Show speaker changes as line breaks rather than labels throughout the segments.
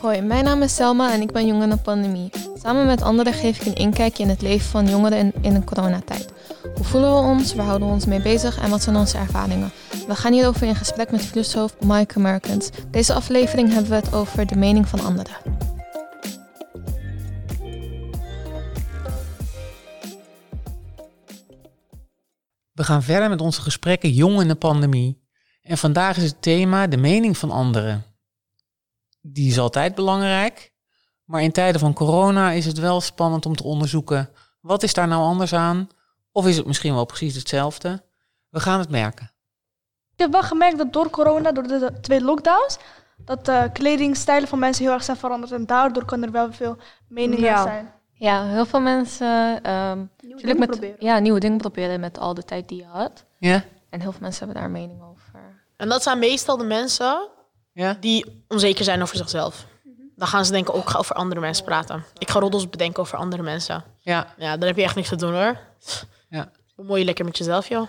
Hoi, mijn naam is Selma en ik ben jong in de pandemie. Samen met anderen geef ik een inkijkje in het leven van jongeren in, in een coronatijd. Hoe voelen we ons, waar houden we ons mee bezig en wat zijn onze ervaringen? We gaan hierover in gesprek met filosoof Mike Americans. Deze aflevering hebben we het over de mening van anderen.
We gaan verder met onze gesprekken Jong in de Pandemie. En vandaag is het thema de mening van anderen. Die is altijd belangrijk, maar in tijden van corona is het wel spannend om te onderzoeken wat is daar nou anders aan? Of is het misschien wel precies hetzelfde? We gaan het merken.
Ik heb wel gemerkt dat door corona, door de twee lockdowns, dat de kledingstijlen van mensen heel erg zijn veranderd. En daardoor kan er wel veel meningen
Ja.
zijn.
Ja, heel veel mensen ehm,
Nieuwe
natuurlijk
dingen
met,
proberen.
Ja, nieuwe dingen proberen met al de tijd die je had.
Ja?
En heel veel mensen hebben daar mening over.
En dat zijn meestal de mensen
Ja?
die onzeker zijn over zichzelf. Dan gaan ze denken, oh, ik ga over andere mensen praten. Ik ga roddels bedenken over andere mensen.
Ja.
Ja, daar heb je echt niks te doen hoor.
Ja.
Bemoei je lekker met jezelf, joh.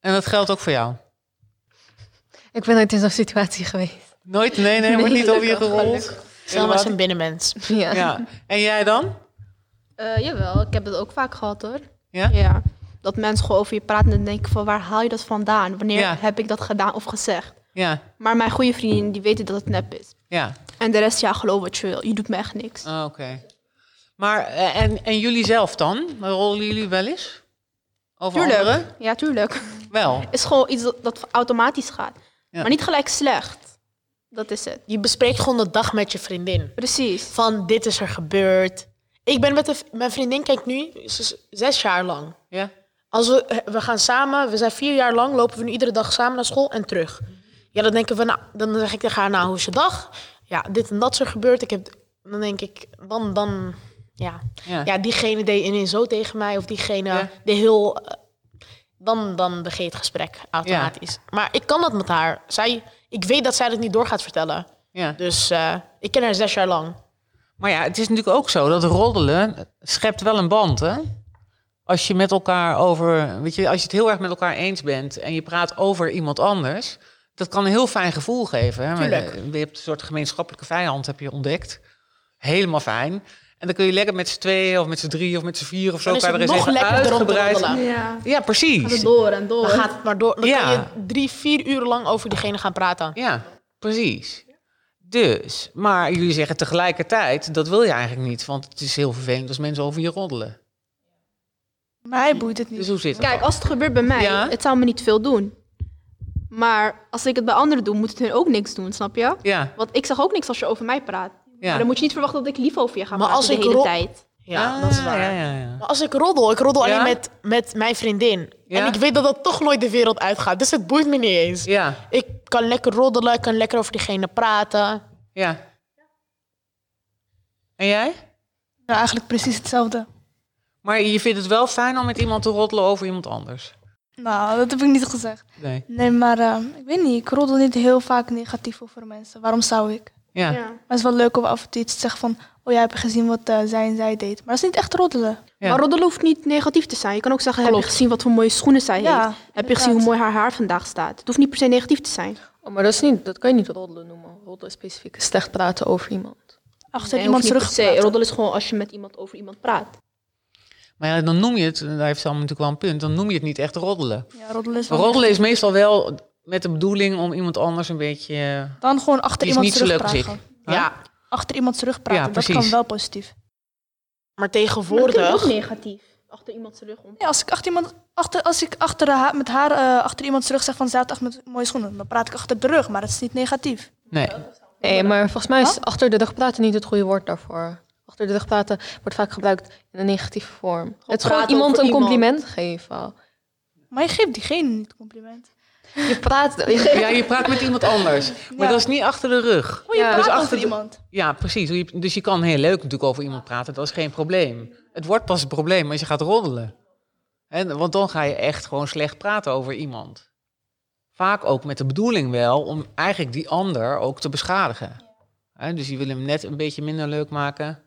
En dat geldt ook voor jou.
Ik ben nooit in zo'n situatie geweest.
Nooit, nee, nee, wordt
Nee,
niet over je
gelukkig,
gerold.
Zelma is een binnenmens.
Ja.
Ja. En jij dan?
Eh, jawel, ik heb dat ook vaak gehad hoor.
Ja?
Ja. Dat mensen gewoon over je praten en denken van waar haal je dat vandaan? Wanneer
Ja.
heb ik dat gedaan of gezegd?
Ja.
Maar mijn goede vrienden die weten dat het nep is.
Ja.
En de rest, ja, geloof wat je wil. Je doet me echt niks.
Ah, Oké. Maar eh, en, en jullie zelf dan? Rollen jullie wel eens? Over
tuurlijk.
anderen?
Ja, tuurlijk.
Wel.
is gewoon iets dat, dat automatisch gaat.
Ja.
Maar niet gelijk slecht. Dat is het.
Je bespreekt gewoon de dag met je vriendin.
Precies.
Van, dit is er gebeurd. Ik ben met een v- mijn vriendin, kijk nu, ze is zes jaar lang.
Ja.
Als we, eh, we gaan samen, we zijn vier jaar lang, lopen we nu iedere dag samen naar school en terug. Ja, dan denken we, nou, dan zeg ik tegen haar, nou, hoe is je dag? Ja, dit en dat is er gebeurd. Ik heb, dan denk ik, dan, dan, ja.
Ja.
Ja, diegene deed in zo tegen mij, of diegene,
Ja.
de heel, eh, dan, dan begin je het gesprek automatisch. Maar ik kan dat met haar. Zij, ik weet dat zij dat niet door gaat vertellen.
ja.
Dus eh, ik ken haar zes jaar lang.
Maar ja, het is natuurlijk ook zo dat roddelen schept wel een band, hè? Als je met elkaar over, weet je, als je het heel erg met elkaar eens bent en je praat over iemand anders, dat kan een heel fijn gevoel geven. Hè? Maar,
Tuurlijk.
eh, Je hebt een soort gemeenschappelijke vijand, heb je ontdekt. Helemaal fijn. En dan kun je lekker met z'n tweeën of met z'n drieën of met z'n vier of zo
Dan is
elkaar
het
er eens
nog
even
lekkerder om te
uitgebreid.
roddelen.
Ja.
Ja,
Gaat het
precies.
door en door.
Dan gaat het maar door. Dan
Oh, Ja.
kan je drie, vier uren lang over diegene gaan praten.
Ja, precies. Dus, maar jullie zeggen tegelijkertijd, dat wil je eigenlijk niet, want het is heel vervelend als mensen over je roddelen.
Mij boeit het niet.
Dus hoe zit dat?
Kijk, als het gebeurt bij mij,
Ja.
het zou me niet veel doen. Maar als ik het bij anderen doe, moet het hun ook niks doen, snap je?
Ja,
Want ik zeg ook niks als je over mij praat.
ja.
Maar dan moet je niet verwachten dat ik lief over je ga
Maar
praten
als
de
ik
hele
ro-
tijd.
Ja,
Ah,
dat is waar.
Ja, ja, ja.
Maar als ik roddel, ik roddel
Ja?
alleen met, met mijn vriendin.
Ja?
En ik weet dat dat toch nooit de wereld uitgaat. Dus het boeit me niet eens.
ja,
Ik kan lekker roddelen, ik kan lekker over diegene praten.
ja. En jij?
Ja, eigenlijk precies hetzelfde.
Maar je vindt het wel fijn om met iemand te roddelen over iemand anders?
Nou, dat heb ik niet gezegd.
Nee.
Nee, maar eh, ik weet niet. Ik roddel niet heel vaak negatief over mensen. Waarom zou ik?
Ja.
Ja.
Maar het is wel leuk om af en toe iets te zeggen van... Oh, jij hebt gezien wat eh, zij en zij deed. Maar dat is niet echt roddelen.
Ja.
Maar roddelen hoeft niet negatief te zijn. Je kan ook zeggen, heb je gezien wat voor mooie schoenen zij
Ja,
heeft? Heb je gezien hoe mooi haar haar vandaag staat? Het hoeft niet per se negatief te zijn.
Oh, maar dat, is niet, dat kan je niet roddelen noemen. Roddelen specifiek is slecht praten over iemand.
Achter
En
iemand
hoeft niet
terug
per
te
se.
praten.
Roddelen is gewoon als je met iemand over iemand praat.
Maar ja, dan noem je het, en daar heeft Sam natuurlijk wel een punt, dan noem je het niet echt roddelen.
Ja, roddelen is wel-
Roddelen is meestal wel met de bedoeling om iemand anders een beetje... eh,
Dan gewoon achter
Die is
iemand
niet zo leuk
terug
als
praten.
Huh?
Ja,
Achter iemand terug praten.
Ja,
dat kan
precies.
wel positief.
maar
Maar dat klinkt
tegenwoordig...
ook negatief. Achter iemands rug om.
Ja, als ik achter iemand... Achter, als ik achter de ha- met haar eh, achter iemand terug zeg van... Zij had echt met mooie schoenen. Dan praat ik achter de rug. Maar dat is niet negatief.
Nee.
Nee, maar volgens mij is achter de rug praten niet het goede woord daarvoor. Achter de rug praten wordt vaak gebruikt in een negatieve vorm. het is gewoon
praten
iemand
over
een
iemand.
compliment geven.
Maar je geeft diegene niet compliment.
Je praat...
Ja, je praat met iemand anders. Maar
Ja.
dat is niet achter de rug.
Oh, je
Ja.
praat
Dus
over
achter de-
iemand.
Ja, precies. Hoe je- Dus je kan heel leuk natuurlijk over iemand praten, dat is geen probleem. Het wordt pas een probleem als je gaat roddelen. En, want dan ga je echt gewoon slecht praten over iemand. Vaak ook met de bedoeling wel om eigenlijk die ander ook te beschadigen. Hè, dus je wil hem net een beetje minder leuk maken.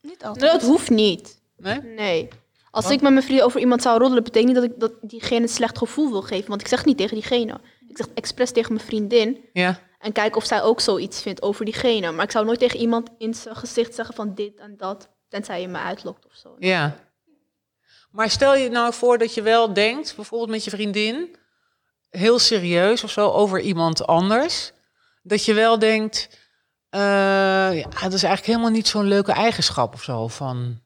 Niet
Nee,
altijd.
dat hoeft niet.
Nee?
Nee. Als
Want-
ik met mijn vrienden over iemand zou roddelen, betekent niet dat ik dat diegene een slecht gevoel wil geven. Want ik zeg niet tegen diegene. Ik zeg expres tegen mijn vriendin.
Ja.
En kijk of zij ook zoiets vindt over diegene. Maar ik zou nooit tegen iemand in zijn gezicht zeggen van dit en dat. Tenzij je me uitlokt of zo.
Ja. Maar stel je nou voor dat je wel denkt, bijvoorbeeld met je vriendin, heel serieus of zo over iemand anders, dat je wel denkt, eh, ja, dat is eigenlijk helemaal niet zo'n leuke eigenschap of zo van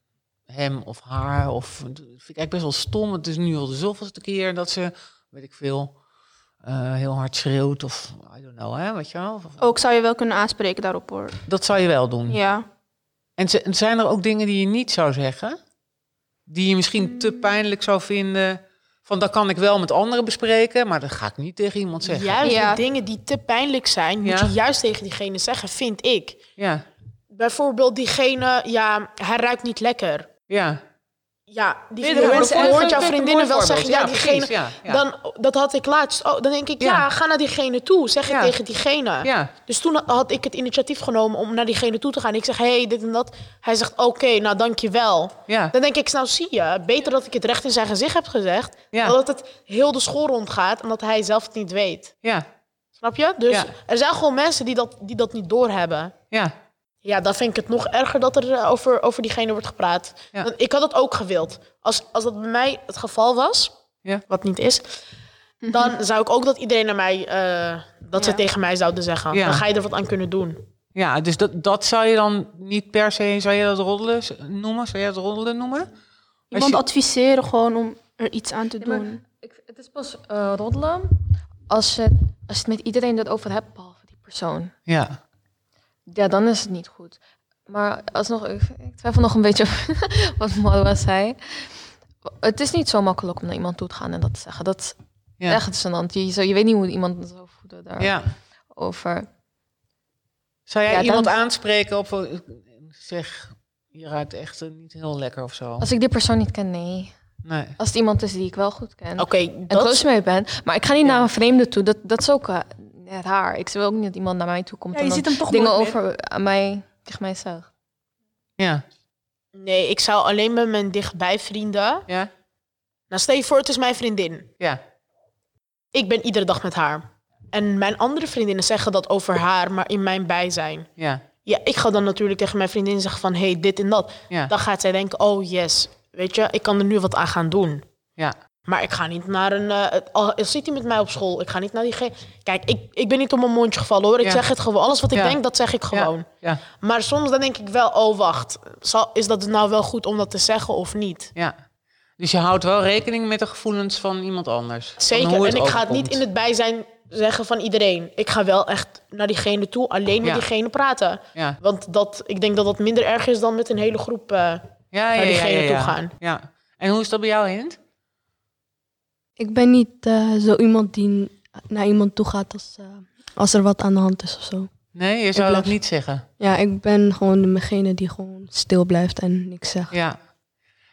hem of haar. Of dat vind ik eigenlijk best wel stom. Het is nu al de zoveelste keer dat ze, weet ik veel, eh, heel hard schreeuwt of I don't know, hè, weet je wel. Of-
Ook Oh, zou je wel kunnen aanspreken daarop hoor.
Dat zou je wel doen.
Ja.
En z- en zijn er ook dingen die je niet zou zeggen? Die je misschien
Hmm.
te pijnlijk zou vinden? Van dat kan ik wel met anderen bespreken, maar dat ga ik niet tegen iemand zeggen.
Juist
Ja.
de dingen die te pijnlijk zijn, moet
Ja.
je juist tegen diegene zeggen, vind ik.
Ja,
Bijvoorbeeld diegene, ja, hij ruikt niet lekker.
ja.
Ja, die
Nee, dat-
mensen
dat-
hoort
dat-
jouw
dat-
vriendinnen
eh, mooi
wel
voorbeeld.
zeggen, ja,
precies,
diegene,
Ja, ja.
Dan, dat had ik laatst. Oh, dan denk ik, ja,
Ja.
ga naar diegene toe. Zeg
Ja.
het tegen diegene.
ja.
Dus toen had ik het initiatief genomen om naar diegene toe te gaan. Ik zeg, hé, hey, dit en dat. Hij zegt, oké, nou dankjewel.
ja.
Dan denk ik, nou zie je, beter dat ik het recht in zijn gezicht heb gezegd.
Ja.
Dan dat het heel de school rondgaat en dat hij zelf het niet weet.
ja.
Snap je? Dus
Ja.
er zijn gewoon mensen die dat, die dat niet doorhebben.
ja.
Ja, dan vind ik het nog erger dat er eh, over, over diegene wordt gepraat.
Ja.
Want ik had dat ook gewild. Als, als dat bij mij het geval was,
Ja. Mhm.
wat niet is, dan zou ik ook dat iedereen naar mij, eh, dat ze
Ja.
tegen mij zouden zeggen.
Ja.
Dan ga je er wat aan kunnen doen.
Ja, dus dat, dat zou je dan niet per se, zou je dat roddelen s- noemen? Zou jij dat roddelen noemen?
Iemand
je-
adviseren gewoon om er iets aan te
Ja, maar-
doen.
Ik, het is pas eh, roddelen als het, als je het met iedereen dat over hebt, behalve die persoon.
Ja.
Ja, dan is het niet goed. Maar alsnog, ik, ik twijfel nog een beetje over wat Marwa zei. Het is niet zo makkelijk om naar iemand toe te gaan en dat te zeggen. Dat is
Ja.
echt gênant. Je, zou- je weet niet hoe iemand zou voelen
ja.
daarover.
Zou jij
Ja, dan-
iemand aanspreken op, eh, zeg, je ruikt echt eh, niet heel lekker of
Oh.
zo?
Als ik die persoon niet ken, nee.
Nee.
Als het iemand is die ik wel goed ken
Oké,
en
dat,
close mee ben. Maar ik ga niet
Ja.
naar een vreemde toe. Dat, dat is ook eh, net raar. Ik wil ook niet dat iemand naar mij toe komt
Ja,
en
je
dan
ziet hem toch
dingen
nooit meer.
over aan mij, tegen mij zegt.
Ja.
nee, ik zou alleen met mijn dichtbij vrienden.
Ja.
Nou, stel je voor, het is mijn vriendin.
Ja.
Ik ben iedere dag met haar. En mijn andere vriendinnen zeggen dat over haar, maar in mijn bijzijn.
Ja.
Ja, ik ga dan natuurlijk tegen mijn vriendin zeggen van, hey, dit en dat.
Ja.
Dan gaat zij denken, oh yes, weet je, ik kan er nu wat aan gaan doen.
Ja.
Maar ik ga niet naar een... eh al al zit hij met mij op school, ik ga niet naar diegene... Kijk, ik, ik ben niet op mijn mondje gevallen hoor. Ik
Ja.
zeg het gewoon. Alles wat ik
Ja.
denk, dat zeg ik gewoon.
ja.
Maar soms dan denk ik wel, oh wacht, zal, is dat nou wel goed om dat te zeggen of niet?
Ja. Dus je houdt wel rekening met de gevoelens van iemand anders. Van
Zeker,
hoe
en ik ga het niet
overkomt.
in het bijzijn zeggen van iedereen. Ik ga wel echt naar diegene toe, alleen met
Ja.
diegene praten.
Ja,
Want dat, ik denk dat dat minder erg is dan met een hele groep... eh,
ja, ja, ja,
diegene
ja, ja.
toe gaan.
Ja. En hoe is dat bij jou, Hint?
Ik ben niet eh, zo iemand die naar iemand toe gaat als, eh, als er wat aan de hand is of zo.
Nee, je zou dat
blijf-
niet zeggen.
Ja, ik ben gewoon degene die gewoon stil blijft en niks zegt.
Ja.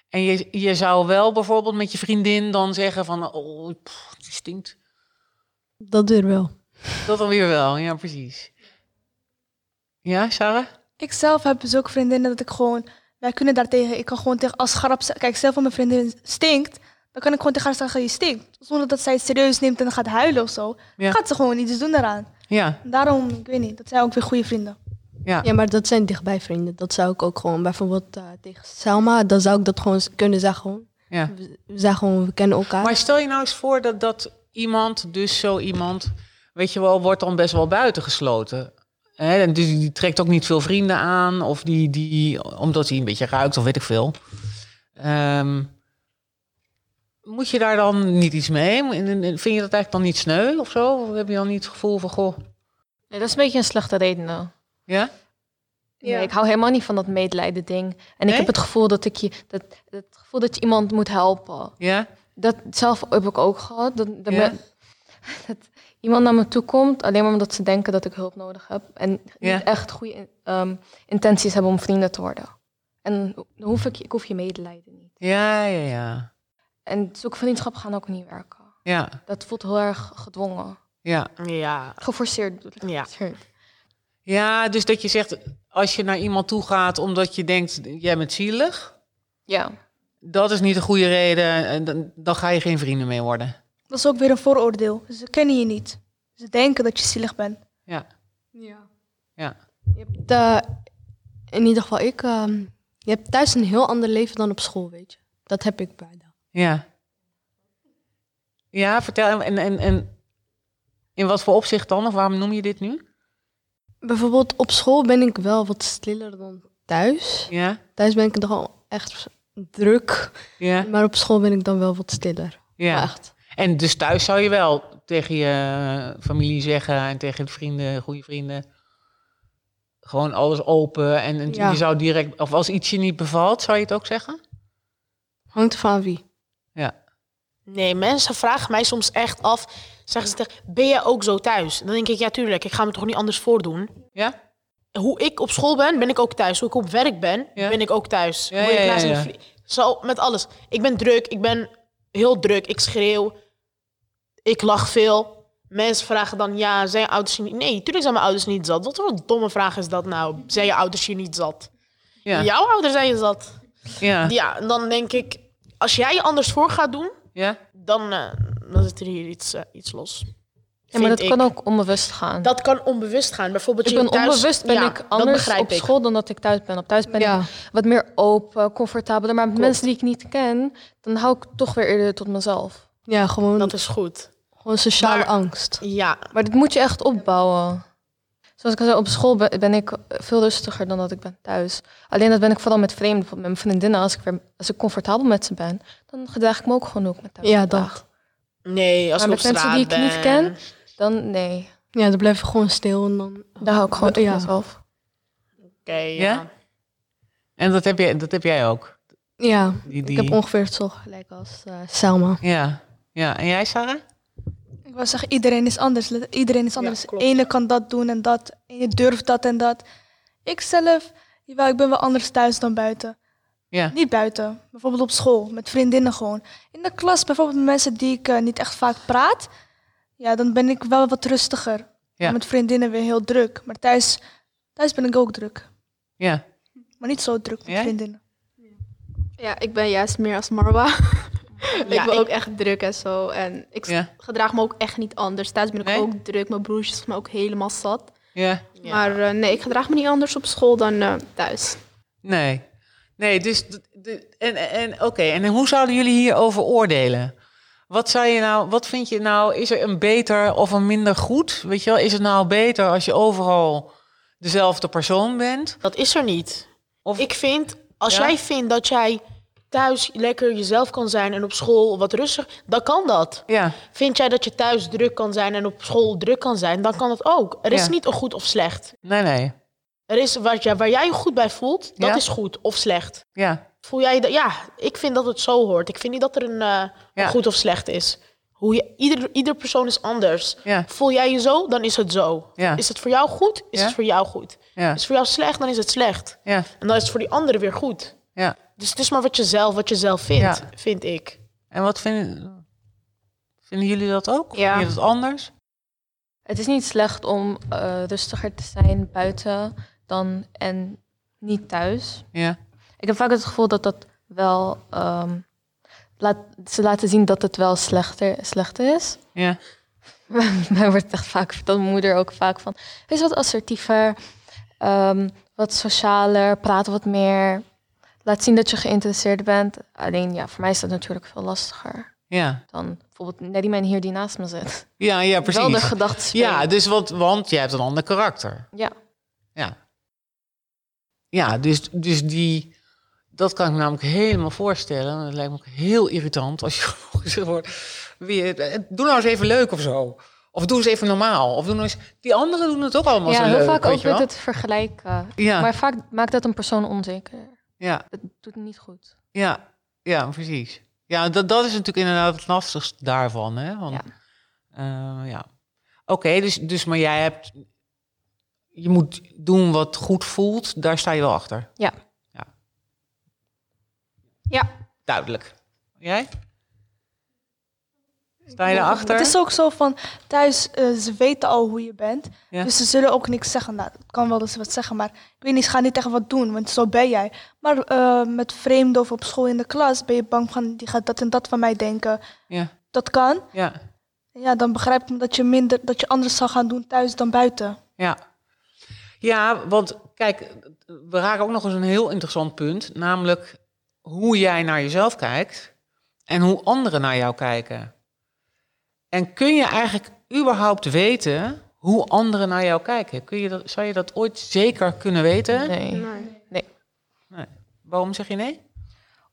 En je, je zou wel bijvoorbeeld met je vriendin dan zeggen van... Oh, pff, die stinkt.
Dat duurt wel.
Dat dan weer wel, ja, precies. Ja, Sarah?
Ik zelf heb zulke vriendinnen dat ik gewoon... Wij kunnen daartegen. Ik kan gewoon tegen... Als Garab... ze- Kijk, stel voor mijn vriendin stinkt. Dan kan ik gewoon tegen haar zeggen, je stinkt. Zonder dat zij het serieus neemt en gaat huilen of zo.
Ja.
Gaat ze gewoon iets doen daaraan.
Ja,
Daarom, ik weet niet. Dat zijn ook weer goede vrienden.
ja.
Ja, maar dat zijn dichtbij vrienden. Dat zou ik ook gewoon bijvoorbeeld eh, tegen Selma, dan zou ik dat gewoon s- kunnen zeggen. Gewoon.
Ja.
We, we zijn gewoon, we kennen elkaar.
Maar stel je nou eens voor dat, dat iemand, dus zo iemand, weet je wel, wordt dan best wel buitengesloten. Hè, en dus die trekt ook niet veel vrienden aan, of die, die omdat hij een beetje ruikt, of weet ik veel. Ehm, moet je daar dan niet iets mee? Moet- en- en- Vind je dat eigenlijk dan niet sneu of zo? Of heb je dan niet het gevoel van, goh,
Nee, dat is een beetje een slechte reden. nou.
ja?
Nee, ik hou helemaal niet van dat medelijden ding. En
Nee?
ik heb het gevoel dat ik je, dat, het gevoel dat je iemand moet helpen.
Ja?
Dat zelf heb ik ook gehad. Dat, dat,
Ja.
me- dat iemand naar me toe komt, alleen maar omdat ze denken dat ik hulp nodig heb. En
Ja.
niet echt goede in- ehm, intenties hebben om vrienden te worden. En dan hoef ik, ik hoef je medelijden niet.
Ja, ja, ja.
En zulke vriendschappen gaan ook niet werken.
Ja,
Dat voelt heel erg gedwongen.
ja.
ja,
Geforceerd bedoel ik.
ja.
Geforceerd.
Ja, dus dat je zegt, als je naar iemand toe gaat omdat je denkt, jij bent zielig,
Ja.
Dat is niet de goede reden. En dan, dan ga je geen vrienden mee worden.
Dat is ook weer een vooroordeel. Ze kennen je niet. Ze denken dat je zielig bent.
Ja.
Ja.
Ja.
Je hebt, eh, in ieder geval ik, eh, je hebt thuis een heel ander leven dan op school, weet je. Dat heb ik bijna.
Ja. Ja, vertel. En, en, en in wat voor opzicht dan? Of waarom noem je dit nu?
Bijvoorbeeld op school ben ik wel wat stiller dan thuis.
Ja.
Thuis ben ik toch al echt druk.
Ja.
Maar op school ben ik dan wel wat stiller.
ja.
Maar Echt.
En dus thuis zou je wel tegen je familie zeggen en tegen de vrienden, goede vrienden. Gewoon alles open en, en
Ja.
je zou direct, of als iets je niet bevalt, zou je het ook zeggen?
Hangt van wie.
Nee, mensen vragen mij soms echt af. Zeggen ze tegen, ben jij ook zo thuis? Dan denk ik, ja tuurlijk, ik ga me toch niet anders voordoen.
Ja?
Hoe ik op school ben, ben ik ook thuis. Hoe ik op werk ben,
Ja.
ben ik ook thuis.
Ja,
Hoe ik
ja, ja,
naast mijn
ja.
vri- Zo, met alles. Ik ben druk, ik ben heel druk. Ik schreeuw, ik lach veel. Mensen vragen dan, ja, zijn je ouders je niet... Nee, tuurlijk zijn mijn ouders niet zat. Wat voor een domme vraag is dat nou? Zijn je ouders je niet zat?
Ja. Ja?
Jouw ouders zijn je zat.
Ja?
Ja, en dan denk ik, als jij je anders voor gaat doen... dan, eh, dan zit er hier iets, eh, iets los.
Ja, maar
Vind
dat kan
ik.
ook onbewust gaan.
Dat kan onbewust gaan. Bijvoorbeeld
ik
je
ben
thuis-
onbewust ben
Ja,
ik
dat
anders
begrijp
op
ik.
school dan dat ik thuis ben. Op thuis ben ik
Ja.
wat meer open, comfortabeler. Maar met mensen die ik niet ken, dan hou ik toch weer eerder tot mezelf.
Ja, gewoon,
Dat is goed.
gewoon sociale
Maar-
angst.
Ja,
Maar dit moet je echt opbouwen. Zoals ik al zei, op school ben, ben ik veel rustiger dan dat ik ben thuis. Alleen dat ben ik vooral met vreemden, bijvoorbeeld met mijn vriendinnen. Als ik, weer, als ik comfortabel met ze ben, dan gedraag ik me ook gewoon ook met thuis.
Ja,
gedraag.
dat.
nee, als
Maar
ik
met
op
mensen
straat
die ik niet
ben-
ken? Dan nee,
Ja, dan blijf ik gewoon stil en dan...
daar hou ik gewoon tot
Ja.
mezelf.
Oké,
Ja? En dat heb, jij, dat heb jij ook?
Ja,
Die,
ik
die...
heb ongeveer zo gelijk als eh, Selma.
ja. ja. En jij, Sarah?
Ik wou zeggen, iedereen is anders. Let- Iedereen is anders.
klopt.
Ene kan dat doen en dat. Ene durft dat en dat. Ik zelf, jawel, ik ben wel anders thuis dan buiten.
Ja.
Niet buiten. Bijvoorbeeld op school, met vriendinnen gewoon. In de klas, bijvoorbeeld met mensen die ik eh, niet echt vaak praat. Ja, dan ben ik wel wat rustiger.
Ja.
Met vriendinnen weer heel druk. Maar thuis, thuis ben ik ook druk.
Ja.
Maar niet zo druk met
Jij?
vriendinnen.
Ja, ik ben juist meer als Marwa. ik
Ja,
ben
ik-
ook echt druk en zo. En ik s-
Ja.
gedraag me ook echt niet anders. Thuis ben ik
Nee?
ook druk. Mijn broertje is me ook helemaal zat.
Ja.
Ja.
Maar eh, nee, ik gedraag me niet anders op school dan eh, thuis.
Nee. Nee, dus. d- d- en en oké, en hoe zouden jullie hierover oordelen? Wat zou je nou, wat vind je nou, is er een beter of een minder goed? Weet je wel, is het nou beter als je overal dezelfde persoon bent?
Dat is er niet.
Of-
Ik vind, als
Ja?
jij vindt dat jij thuis lekker jezelf kan zijn en op school wat rustig, dan kan dat.
Ja,
Vind jij dat je thuis druk kan zijn en op school druk kan zijn, dan kan dat ook. Er is
Ja.
niet een goed of slecht.
nee, nee.
Er is wat, ja, waar jij je goed bij voelt, dat
Ja.
is goed of slecht.
Ja,
Voel jij dat? Ja, ik vind dat het zo hoort. Ik vind niet dat er een, eh,
Ja.
een goed of slecht is. Hoe je, ieder, ieder persoon is anders.
ja,
Voel jij je zo, dan is het zo.
ja,
Is het voor jou goed, is
Ja.
het voor jou goed.
ja,
Is het voor jou slecht, dan is het slecht.
ja,
En dan is het voor die anderen weer goed.
ja.
Dus het is maar wat je zelf, wat je zelf vindt,
Ja.
vind ik.
En wat vinden, vinden jullie dat ook?
Ja.
Vinden jullie dat anders?
Het is niet slecht om eh, rustiger te zijn buiten dan en niet thuis.
Ja,
Ik heb vaak het gevoel dat dat wel. ehm, laat, ze laten zien dat het wel slechter, slechter is.
ja,
Mij wordt echt vaak, vertelt mijn moeder ook vaak van. Wees wat assertiever, ehm, wat socialer, praat wat meer. Laat zien dat je geïnteresseerd bent. Alleen ja, voor mij is dat natuurlijk veel lastiger
ja.
dan bijvoorbeeld Neddyman hier die naast me zit.
Ja, ja,
Wel de
precies.
gedachten spelen.
Ja, dus want, want je hebt een ander karakter.
Ja.
Ja. Ja, dus, dus die... Dat kan ik me namelijk helemaal voorstellen. Dat lijkt me ook heel irritant als je gezegd wordt... Weer, eh, doe nou eens even leuk of zo. Of doe eens even normaal. Of doe nou eens... Die anderen doen het ook allemaal zo
ja, heel
leuk,
vaak
weet
ook
je wel.
met het vergelijken.
Ja,
Maar vaak maakt dat een persoon onzeker.
ja,
Dat doet niet goed.
ja, ja, precies. Ja, dat, dat is natuurlijk inderdaad het lastigste daarvan. Hè? Want,
Ja.
eh, ja. Oké, dus, dus maar jij hebt... Je moet doen wat goed voelt. Daar sta je wel achter.
Ja.
Ja.
Ja.
Duidelijk. Jij? Sta je daarachter?
Het is ook zo van thuis, eh, ze weten al hoe je bent.
Ja.
Dus ze zullen ook niks zeggen. Nou, het kan wel dat ze wat zeggen, maar ik weet niet, ze gaan niet echt wat doen, want zo ben jij. Maar eh, met vreemden of op school in de klas ben je bang van die gaat dat en dat van mij denken.
Ja.
Dat kan.
Ja,
Ja, dan begrijp ik dat je minder, dat je anders zal gaan doen thuis dan buiten.
ja. Ja, want kijk, we raken ook nog eens een heel interessant punt. Namelijk hoe jij naar jezelf kijkt en hoe anderen naar jou kijken. En kun je eigenlijk überhaupt weten hoe anderen naar jou kijken? Kun je dat, zou je dat ooit zeker kunnen weten?
Nee.
Waarom zeg je nee?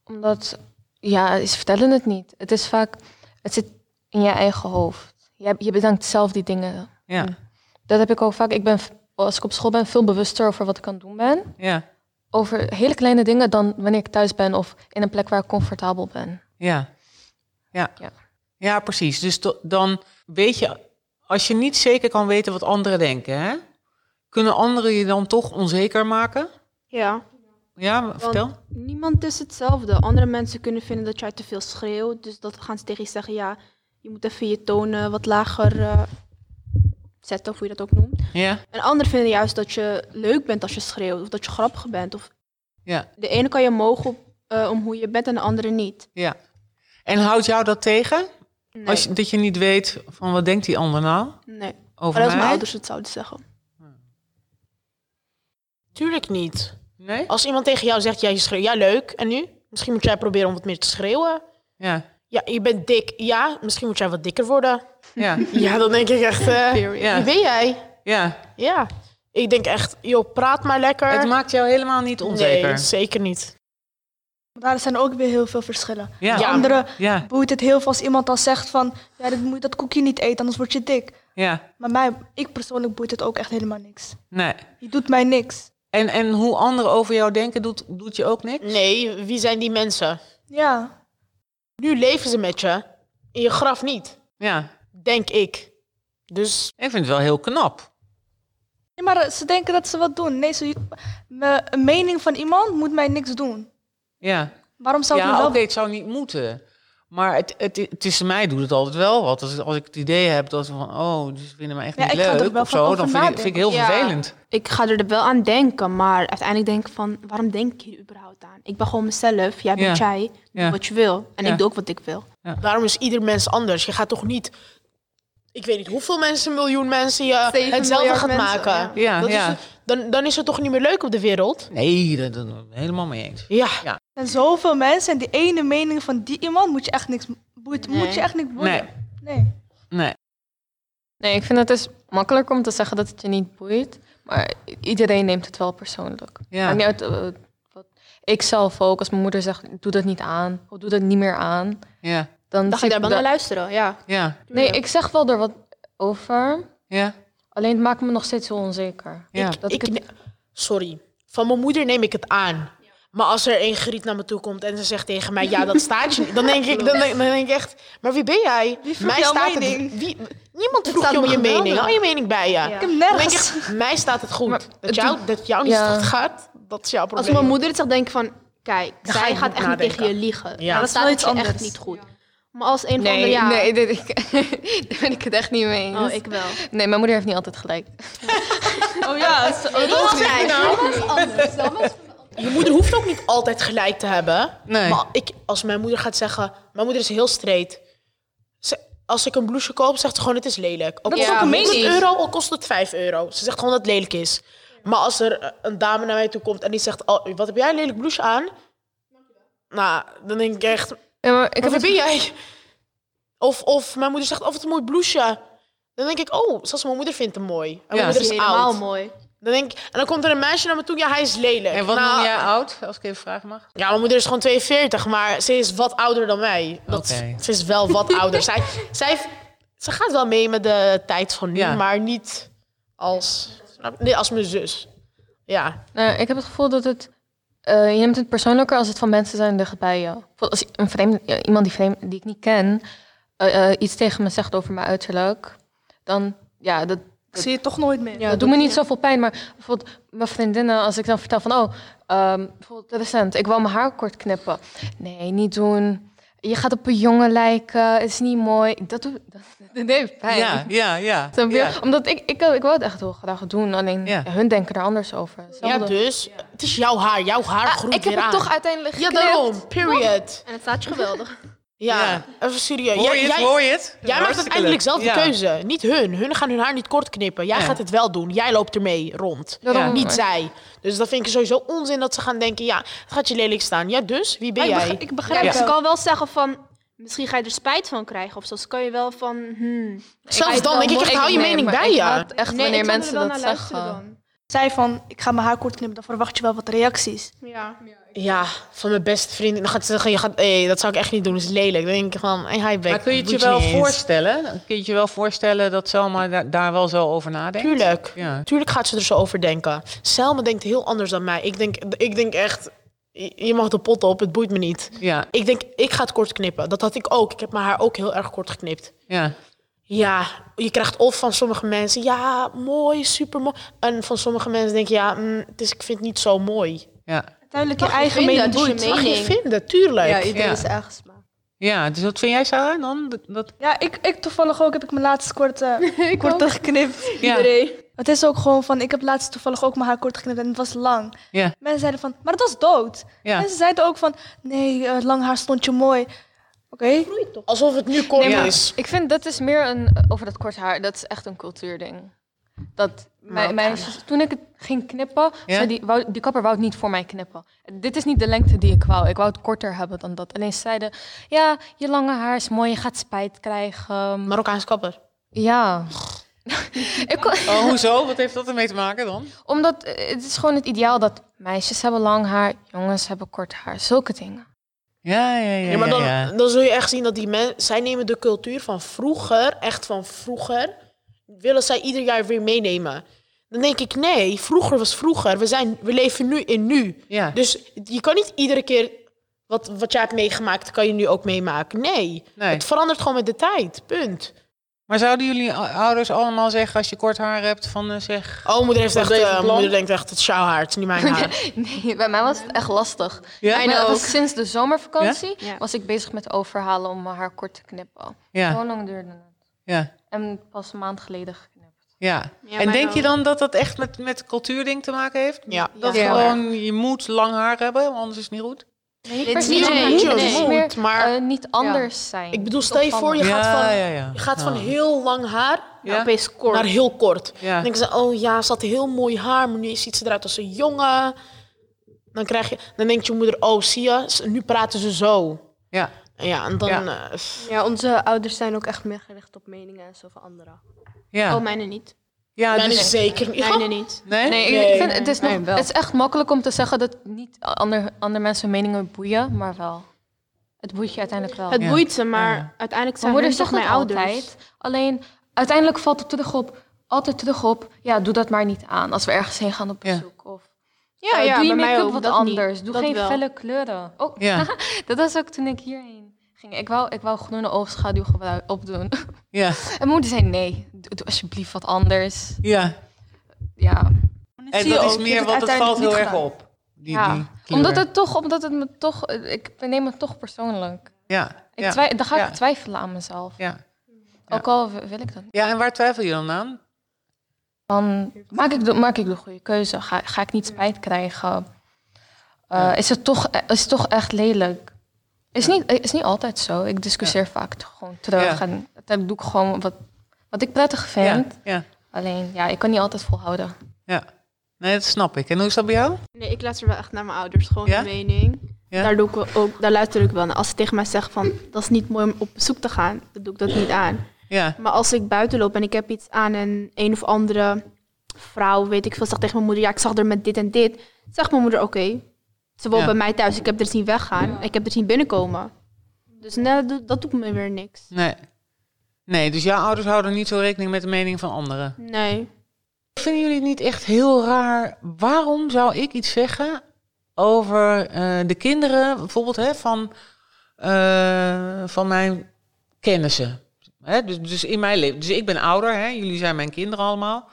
Omdat, ja, ze vertellen het niet. Het is vaak, het zit in je eigen hoofd. Je, je bedenkt zelf die dingen.
Ja,
Dat heb ik ook vaak. Ik ben, v- als ik op school ben, veel bewuster over wat ik aan het doen ben.
ja,
Over hele kleine dingen dan wanneer ik thuis ben of in een plek waar ik comfortabel ben.
ja. Ja,
Ja.
ja precies. Dus do- dan weet je, als je niet zeker kan weten wat anderen denken, hè, kunnen anderen je dan toch onzeker maken?
Ja.
Ja, vertel.
Want niemand is hetzelfde. Andere mensen kunnen vinden dat jij te veel schreeuwt. Dus dat gaan ze tegen je zeggen, ja, je moet even je tonen wat lager eh, zetten, of hoe je dat ook noemt.
Ja,
En anderen vinden juist dat je leuk bent als je schreeuwt, of dat je grappig bent. Of
ja,
de ene kan je mogen op, eh, om hoe je bent en de andere niet.
ja. En houdt jou dat tegen?
Nee,
Als je, dat je niet weet van wat denkt die ander nou
nee.
over
Maar als
mij?
mijn ouders het zouden zeggen.
Tuurlijk niet.
Nee?
Als iemand tegen jou zegt, jij schreeuwt, ja leuk, en nu? Misschien moet jij proberen om wat meer te schreeuwen.
Ja,
Ja, je bent dik. Ja, misschien moet jij wat dikker worden.
ja,
Ja, dan denk ik echt, eh, wie
ja,
ben jij?
ja.
Ja. Ik denk echt, joh, praat maar lekker.
Het maakt jou helemaal niet onzeker.
Nee, zeker niet.
Daar zijn ook weer heel veel verschillen.
Ja,
Ja.
ja,
Anderen
ja,
boeit het heel veel als iemand al zegt van... Ja, dit moet je dat koekje niet eten, anders word je dik. Maar mij, ik persoonlijk boeit het ook echt helemaal niks.
nee.
Je doet mij niks.
En, en hoe anderen over jou denken, doet, doet je ook niks?
Nee, wie zijn die mensen?
Ja,
Nu leven ze met je, in je graf niet,
Ja,
denk ik. Dus
ik vind het wel heel knap.
nee, maar eh, ze denken dat ze wat doen. Nee, ze, me, een mening van iemand moet mij niks doen.
Ja,
Waarom zou ik
ja
me
oké,
wel...
het zou niet moeten. Maar het, het, het is mij doet het altijd wel wat. Als, als ik het idee heb dat ze van, oh, ze vinden me echt
Ja,
niet
ik ga er
leuk
wel
of
van
zo,
over
dan vind ik,
nadenken.
vind ik heel
Ja.
vervelend.
Ik ga er wel aan denken, maar uiteindelijk denk ik van, waarom denk ik hier überhaupt aan? Ik ben gewoon mezelf, jij bent
Ja.
jij, doe
Ja.
wat je wil. En
Ja.
ik doe ook wat ik wil.
daarom is ieder mens anders. Je gaat toch niet, ik weet niet hoeveel mensen, miljoen mensen, je
Zeven
hetzelfde
miljard
gaat
mensen,
maken.
ja.
Ja,
Dat is
ja.
het- dan, dan is het toch niet meer leuk op de wereld?
Nee, daar ben ik helemaal mee eens.
Ja,
En zoveel mensen en die ene mening van die iemand moet je echt niks... Boeit, Moet je echt niks
Nee,
boeien. nee.
nee.
Nee, ik vind het dus makkelijk om te zeggen dat het je niet boeit. Maar i- iedereen neemt het wel persoonlijk.
Ja,
Maakt niet uit, eh, wat- ik zelf ook, als mijn moeder zegt, doe dat niet aan. Of doe dat niet meer aan.
ja,
Dan
Dan ga
zie
je
ik
daar wel
dat-
naar luisteren, ja.
ja,
Nee, ik zeg wel er wat over.
ja,
Alleen het maakt me nog steeds zo onzeker.
ja.
Dat ik
ik,
het-
ne- sorry, van mijn moeder neem ik het aan. Maar als er een griet naar me toe komt en ze zegt tegen mij, ja, dat staat je niet. Dan denk ik, dan denk, dan denk ik echt, maar wie ben jij?
Wie vroeg jouw mening?
Het, wie, niemand vroeg
staat
je om
me
je
geweldig.
mening. Al je mening bij je.
Ik heb
Dan denk
nergens...
ik, mij staat het goed.
Maar
dat, jou, dat jou niet
Ja.
goed gaat, dat is jouw probleem.
Als mijn moeder het zegt, denk ik van... Kijk,
Dan ga
zij
je
gaat
goed
echt niet
nadenken.
tegen je liegen.
Ja.
Ja,
Dat
dat
is
staat
wel
het
iets
je echt
anders.
niet goed. Maar als een van de...
Nee,
Ja,
nee dit, ik, daar ben ik het echt niet mee eens.
Oh, ik wel.
Nee, mijn moeder heeft niet altijd gelijk.
Oh ja,
Dat is anders.
Je moeder hoeft ook niet altijd gelijk te hebben.
Nee,
Maar ik, als mijn moeder gaat zeggen, mijn moeder is heel straight. Ze- als ik een blouseje koop, zegt ze gewoon het is lelijk. Al
Dat
kost
is ook
het
een
100
mening.
euro, al kost het 5 euro. Ze zegt gewoon dat het lelijk is. Maar als er eh, een dame naar mij toe komt en die zegt, oh, wat heb jij een lelijk blouse aan? Nou, dan denk ik echt,
Ja, maar ik
maar
heb
wie
het,
ben jij? Of, of mijn moeder zegt, oh wat een mooi blouseje. Dan denk ik, oh, zelfs mijn moeder vindt hem mooi. En mijn
Ja.
moeder is
helemaal
oud.
mooi.
Dan denk ik, en dan komt er een meisje naar me toe, ja hij is lelijk.
en wat
Nou,
noem jij oud, als ik even vragen mag?
ja, mijn moeder is gewoon 42, maar ze is wat ouder dan mij. Dat,
Oké.
Ze is wel wat ouder. zij, zij, ze gaat wel mee met de tijd van nu,
Ja.
maar niet als, snap je? nee, als mijn zus. Ja,
nou, ik heb het gevoel dat het... eh, je neemt het persoonlijker als het van mensen zijn dichtbij je. Bijvoorbeeld Als een vreemde, ja, iemand die, vreemd, die ik niet ken eh, eh, iets tegen me zegt over mijn uiterlijk... dan, ja, dat,
Ik zie je toch nooit meer.
dat doet me niet zoveel pijn. Maar bijvoorbeeld mijn vriendinnen, als ik dan vertel van... oh, ehm, bijvoorbeeld recent, ik wou mijn haar kort knippen. Nee, niet doen. je gaat op een jongen lijken, is niet mooi. Dat doet, dat, dat deed pijn.
Ja, ja, ja.
Snap je?
ja.
Omdat ik, ik, ik wou het echt heel graag doen, alleen
Ja.
hun denken er anders over.
Ja,
Hetzelfde.
dus. Het is jouw haar. Jouw haar
Ah,
groeit
ik heb
weer
het
aan.
toch uiteindelijk
ja,
geknipt.
daarom. Period.
En het staat je geweldig.
Ja,
Ja.
even serieus.
Hoor
Jij-
je het?
jij-
Hoor je het?
Jij maakt
Hartstikke
uiteindelijk
leuk.
zelf
Ja.
de keuze. Niet hun. Hun gaan hun haar niet kort knippen. Jij
Ja.
gaat het wel doen. Jij loopt ermee rond.
Daarom.
Ja,
Niet zij. Dus dat vind ik sowieso onzin dat ze gaan denken... ja, het gaat je lelijk staan. Ja, dus? Wie ben
Maar
jij?
Ik, beg- dus ik begrijp
Ja.
het. Ze kan wel zeggen van... Misschien ga je er spijt van krijgen of zo. Ze kan je wel van... hmm.
Zelfs dan denk ik echt, hou je
nee,
mening
maar
bij
ik
je.
haat echt
Nee,
wanneer
ik zou er
mensen
wel
dat
naar luisteren
zeggen.
Zij van, ik ga mijn haar kort knippen, dan verwacht je wel wat reacties.
dan. Ja.
Ja, van mijn beste vriendin. Dan gaat ze zeggen, je gaat, hey, dat zou ik echt niet doen. Dat is lelijk. Dan denk ik van, hey, hi, Beck.
Maar kun je het
Doe
je wel
niet eens.
voorstellen? Kun je het je wel voorstellen dat Selma da- daar wel zo over nadenkt?
Tuurlijk.
Ja.
Tuurlijk gaat ze er zo over denken. Selma denkt heel anders dan mij. Ik denk, ik denk echt, je- je mag de pot op, het boeit me niet.
Ja,
Ik denk, ik ga het kort knippen. Dat had ik ook. Ik heb mijn haar ook heel erg kort geknipt.
ja.
Ja, je krijgt of van sommige mensen, ja, mooi, super mooi. En van sommige mensen denk je, ja, mm, het is, ik vind het niet zo mooi.
Ja.
Uiteindelijk je
Mag je
eigen
vinden,
mening
het is je
boeit.
Mag je
Mening.
vinden, tuurlijk.
Ja, iedereen
Ja.
is eigen smaak.
ja, dus wat vind jij, Sarah, dan? Dat, dat-
Ja, ik, ik toevallig ook heb ik mijn laatste kort, eh, kort geknipt.
ja.
Het is ook gewoon van, ik heb laatst toevallig ook mijn haar kort geknipt en het was lang.
Ja.
Mensen zeiden van, maar het was dood.
Ja.
Mensen zeiden ook van, nee, eh, lang haar stond je mooi. Oké,
Alsof het nu kort
Nee, maar-
is.
Ik vind dat is meer een, over dat kort haar, dat is echt een cultuurding. Dat mijn, mijn, zus- toen ik het ging knippen,
Ja?
zei die, wou- die kapper wou het niet voor mij knippen. Dit is niet de lengte die ik wou. Ik wou het korter hebben dan dat. Alleen ze zeiden, ja, je lange haar is mooi, je gaat spijt krijgen.
Marokkaans kapper.
Ja. ik kon-
Oh, hoezo? Wat heeft dat ermee te maken dan?
omdat eh, het is gewoon het ideaal dat meisjes hebben lang haar, jongens hebben kort haar, zulke dingen.
Ja, ja, ja.
Ja, maar dan,
ja.
dan zul je echt zien dat die mensen, zij nemen de cultuur van vroeger, echt van vroeger, willen zij ieder jaar weer meenemen. Dan denk ik, nee, vroeger was vroeger. We, zijn, we leven nu in nu.
Ja.
Dus je kan niet iedere keer wat, wat jij hebt meegemaakt, kan je nu ook meemaken. Nee,
Nee.
het verandert gewoon met de tijd. Punt.
Maar zouden jullie o- ouders allemaal zeggen als je kort haar hebt van eh, zeg...
Oh, moeder, heeft
Wat
echt,
deed je
eh,
plan?
moeder denkt echt, het is jouw haar, het is niet mijn haar.
Nee, bij mij was het echt lastig.
Ja?
Bijna ook. Sinds de zomervakantie
Ja? Ja.
was ik bezig met overhalen om mijn haar kort te knippen.
Ja,
Zo lang duurde het.
ja,
En pas een maand geleden geknipt.
ja.
Ja,
en
maar
denk je
dan-
dan dat dat echt met, met cultuurding te maken heeft?
Ja.
Dat
Ja.
gewoon, je moet lang haar hebben, want anders is het niet goed?
Nee,
Dit
per se
Niet
Nee,
omdat je het
nee.
Het is
moet,
meer,
maar
eh, niet anders zijn.
ik bedoel, stel je voor, je gaat van,
ja.
je gaat van
Ja.
heel lang haar
Ja.
Opeens kort.
naar heel kort.
Ja.
Dan denken ze, oh ja, ze had heel mooi haar, maar nu ziet ze eruit als een jongen. Dan, krijg je, dan denkt je moeder, oh zie je, ze- nu praten ze zo.
Ja.
En Ja, en dan...
Ja.
eh, pff.
Ja, onze ouders zijn ook echt meer gericht op meningen en zo van anderen.
Ja.
Oh, mijne niet.
ja,
Mijn
dus-
is zeker niet.
Mijne niet.
nee?
Nee, ik-
Nee.
ik vind, het, is nog,
Nee, wel.
het is echt makkelijk om te zeggen dat niet ander, andere mensen hun meningen boeien, maar wel. Het boeit je uiteindelijk wel.
Het
Ja.
boeit ze, maar
Ja.
uiteindelijk zijn
Mijn moeder
moeder
zegt
toch
dat
mijn ouders.
altijd. Alleen uiteindelijk valt het terug op, altijd terug op, ja, doe dat maar niet aan als we ergens heen gaan op
Ja.
bezoek. Of
Ja,
Eh,
ja,
doe je
bij mij
make-up
ook,
wat
dat
anders.
niet.
Doe
Dat
geen
wel.
felle kleuren. Oh,
Ja.
dat was ook toen ik hierheen ging. Ik wou, ik wou groene oogschaduw gebru- opdoen.
Ja,
En moeder zei nee, doe, doe alsjeblieft wat anders.
ja.
Ja,
En dat is meer, want het valt heel erg op. Die,
ja.
die kleur.
omdat het toch, omdat het me toch, ik neem het toch persoonlijk.
Ja,
Ik
ja,
twij- dan ga ik
ja.
twijfelen aan mezelf.
ja.
Ook al w- wil ik dat niet.
ja, en waar twijfel je dan aan?
Dan maak ik de, maak ik de goede keuze. Ga, ga ik niet spijt krijgen? Eh, is, het toch, is het toch echt lelijk? Is niet, is niet altijd zo. Ik discussieer vaak t- gewoon terug.
Ja.
En dat doe ik gewoon wat, wat ik prettig vind.
Ja, ja,
Alleen, ja, ik kan niet altijd volhouden.
ja. Nee, dat snap ik. En hoe is dat bij jou?
Nee, ik luister wel echt naar mijn ouders, gewoon
Ja?
hun mening.
Ja.
Daar, doe ik wel ook, daar luister ik wel naar. Als ze tegen mij zeggen van, dat is niet mooi om op bezoek te gaan, dan doe ik dat niet aan.
Ja,
Maar als ik buiten loop en ik heb iets aan en een of andere vrouw, weet ik veel, zegt tegen mijn moeder, ja, ik zag er met dit en dit. Zegt mijn moeder, oké. Ze woont
Ja.
bij mij thuis, ik heb er zien weggaan, ik heb er zien binnenkomen. Dus nee, dat doet- dat doet me weer niks.
nee. Nee, dus jouw ouders houden niet zo rekening met de mening van anderen.
Nee.
Vinden jullie het niet echt heel raar? Waarom zou ik iets zeggen over eh, de kinderen, bijvoorbeeld hè, van, eh, van mijn kennissen? Hè, dus, dus in mijn leven. Dus ik ben ouder, hè, jullie zijn mijn kinderen allemaal.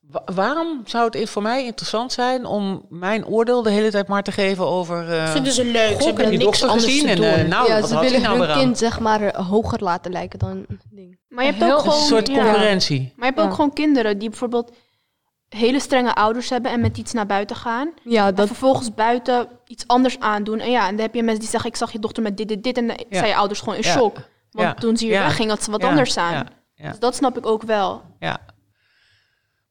Wa- waarom zou het i- voor mij interessant zijn om mijn oordeel de hele tijd maar te geven over... eh
Vinden ze dus
"Goh,
leuk. ze
ik heb
hebben
die
niks
dokter
anders
gezien
te
en
doen.
eh, nou,
ja,
wat
ze
had ik
willen
nou
hun
weer aan?
kind zeg maar eh, hoger laten lijken dan een ding.
Maar je hebt
Heel- Het
ook
Het is
gewoon...
een soort
ja.
concurrentie.
Maar je hebt
Ja.
ook gewoon kinderen die bijvoorbeeld hele strenge ouders hebben en met iets naar buiten gaan.
Ja,
En
dat,
vervolgens buiten iets anders aandoen. En ja, en dan heb je mensen die zeggen, ik zag je dochter met dit, dit, dit. En dan
Ja.
zijn je ouders gewoon in
Ja.
shock. Want
Ja.
toen ze hier
Ja.
wegging, had ze wat
Ja.
anders aan.
Ja. Ja.
Dus dat snap ik ook wel.
Ja.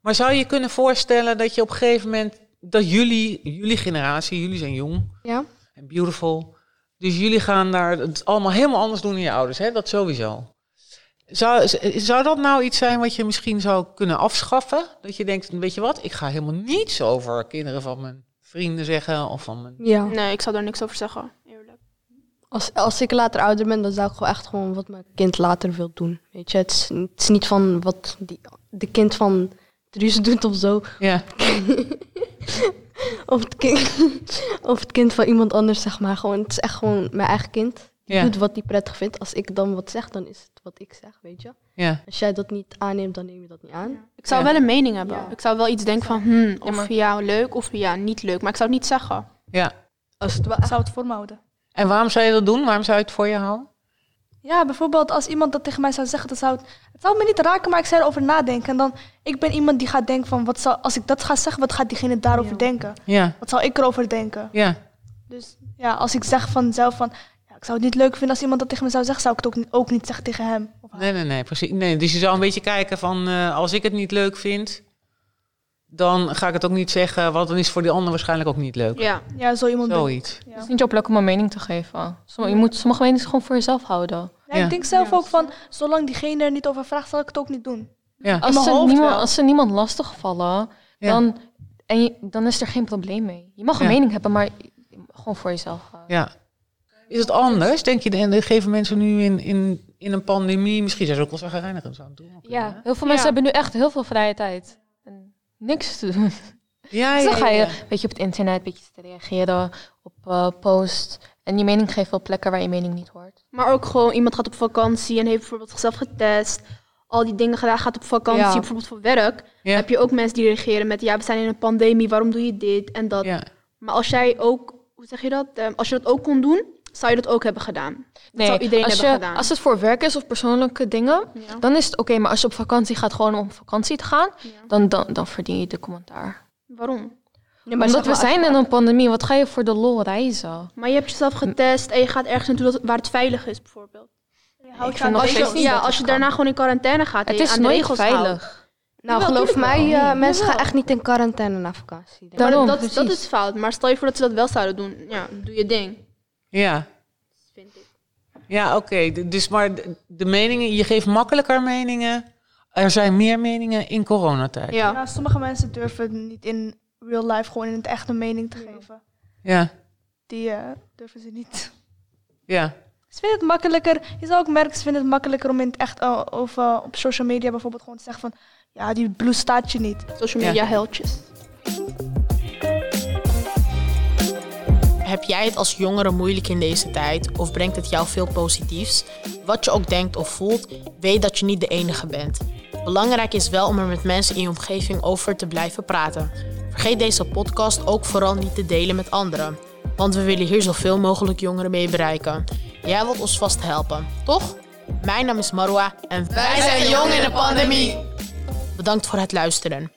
Maar zou je je kunnen voorstellen dat je op een gegeven moment, dat jullie, jullie generatie, jullie zijn jong
Ja.
en beautiful, dus jullie gaan daar het allemaal helemaal anders doen dan je ouders, hè? dat sowieso. Zou, z- zou dat nou iets zijn wat je misschien zou kunnen afschaffen? Dat je denkt, weet je wat, ik ga helemaal niets over kinderen van mijn vrienden zeggen of van mijn...
ja.
Nee, ik zou daar niks over zeggen. Eerlijk.
Als, als ik later ouder ben, dan zou ik gewoon echt gewoon wat mijn kind later wil doen. Weet je, het is, het is niet van wat die, de kind van Truus doet of zo.
Ja,
Of het, kind, of het kind van iemand anders, zeg maar. Gewoon, het is echt gewoon mijn eigen kind. Die
Ja.
doet wat hij prettig vindt. Als ik dan wat zeg, dan is het wat ik zeg, weet je.
ja.
Als jij dat niet aanneemt, dan neem je dat niet aan.
Ik zou
Ja.
wel een mening hebben.
Ja.
Ik zou wel iets denken van, hmm, of ja,
maar-
leuk of ja, niet leuk. Maar ik zou het niet zeggen.
ja.
Als het wel
Ik zou het voor me houden.
En waarom zou je dat doen? Waarom zou je het voor je houden?
Ja, bijvoorbeeld als iemand dat tegen mij zou zeggen, dan zou het, het zou me niet raken, maar ik zou erover nadenken. En dan, ik ben iemand die gaat denken van, wat zou, als ik dat ga zeggen, wat gaat diegene daarover denken?
Ja,
Wat zou ik erover denken?
ja,
Dus ja, als ik zeg vanzelf van, ja, ik zou het niet leuk vinden als iemand dat tegen me zou zeggen, zou ik het ook niet, ook niet zeggen tegen hem. Of haar.
Nee, nee, nee, precies. Nee, dus je zou een beetje kijken van, eh, als ik het niet leuk vind, dan ga ik het ook niet zeggen, want dan is het voor die ander waarschijnlijk ook niet leuk.
Ja.
Ja, zo iemand. ben-
Zoiets.
Ja.
Het is niet jouw plek om een mening te geven. Somm- je moet sommige meningen gewoon voor jezelf houden.
Nee,
Ja.
Ik denk zelf ook van, zolang diegene er niet over vraagt, zal ik het ook niet doen.
Ja,
Als
mijn
ze,
hoofd
niemand,
wel.
als ze niemand lastig vallen,
Ja.
dan, en je- dan is er geen probleem mee. Je mag een
Ja.
mening hebben, maar gewoon voor jezelf eh, houden.
ja. Is het anders? Denk je, en dat geven mensen nu in, in, in een pandemie, misschien zijn ze ook wel zagrijnig en zo aan het doen.
Ja, heel veel mensen
Ja.
hebben nu echt heel veel vrije tijd. En niks te doen.
Ja,
Dus
ja,
dan ga je
ja.
een beetje op het internet, een beetje te reageren op eh posts. En je mening geeft wel plekken waar je mening niet hoort.
Maar ook gewoon, iemand gaat op vakantie en heeft bijvoorbeeld zichzelf getest. Al die dingen gedaan, gaat op vakantie,
Ja.
bijvoorbeeld voor werk.
Ja.
Heb je ook mensen die reageren met, ja, we zijn in een pandemie, waarom doe je dit en dat.
Ja.
Maar als jij ook, hoe zeg je dat? Ehm, als je dat ook kon doen, zou je dat ook hebben gedaan. zou iedereen
als,
hebben
je,
gedaan.
als het voor werk is of persoonlijke dingen,
Ja.
dan is het oké. maar als je op vakantie gaat, gewoon om op vakantie te gaan,
Ja.
dan, dan, dan verdien je de commentaar.
Waarom?
Omdat we zijn in een pandemie, wat ga je voor de lol reizen?
Maar je hebt jezelf
Hm.
getest en je gaat ergens naartoe dat, waar het veilig is, bijvoorbeeld.
Ik vind nog
Als je,
steeds niet
ja,
dat het
als je
kan.
daarna gewoon in quarantaine gaat en
Het
je
is
aan de
nooit
regels houdt.
veilig.
Nou,
Jawel,
geloof
tuurlijk
mij,
wel.
eh, mensen gaan
Jawel.
echt niet in quarantaine na vakantie.
Maar
Daarom,
dat, dat
precies.
is fout. Maar stel je voor dat ze dat wel zouden doen. Ja, doe je ding.
ja.
Vind ik.
Ja, oké. D- Dus maar de, de meningen, je geeft makkelijker meningen. Er zijn meer meningen in coronatijd.
Ja.
Ja, Nou, sommige mensen durven niet in real life gewoon in het echt een mening te geven.
Ja,
Die eh, durven ze niet.
ja.
Ze vinden het makkelijker. Je zou ook merken, ze vinden het makkelijker om in het echt eh, of eh, op social media bijvoorbeeld gewoon te zeggen van ja, die blouse staat je niet.
Social
Ja.
media heldjes.
Heb jij het als jongere moeilijk in deze tijd of brengt het jou veel positiefs? Wat je ook denkt of voelt, weet dat je niet de enige bent. Belangrijk is wel om er met mensen in je omgeving over te blijven praten. Vergeet deze podcast ook vooral niet te delen met anderen, want we willen hier zoveel mogelijk jongeren mee bereiken. Jij wilt ons vast helpen, toch? Mijn naam is Marwa en wij zijn jong in de pandemie. Bedankt voor het luisteren.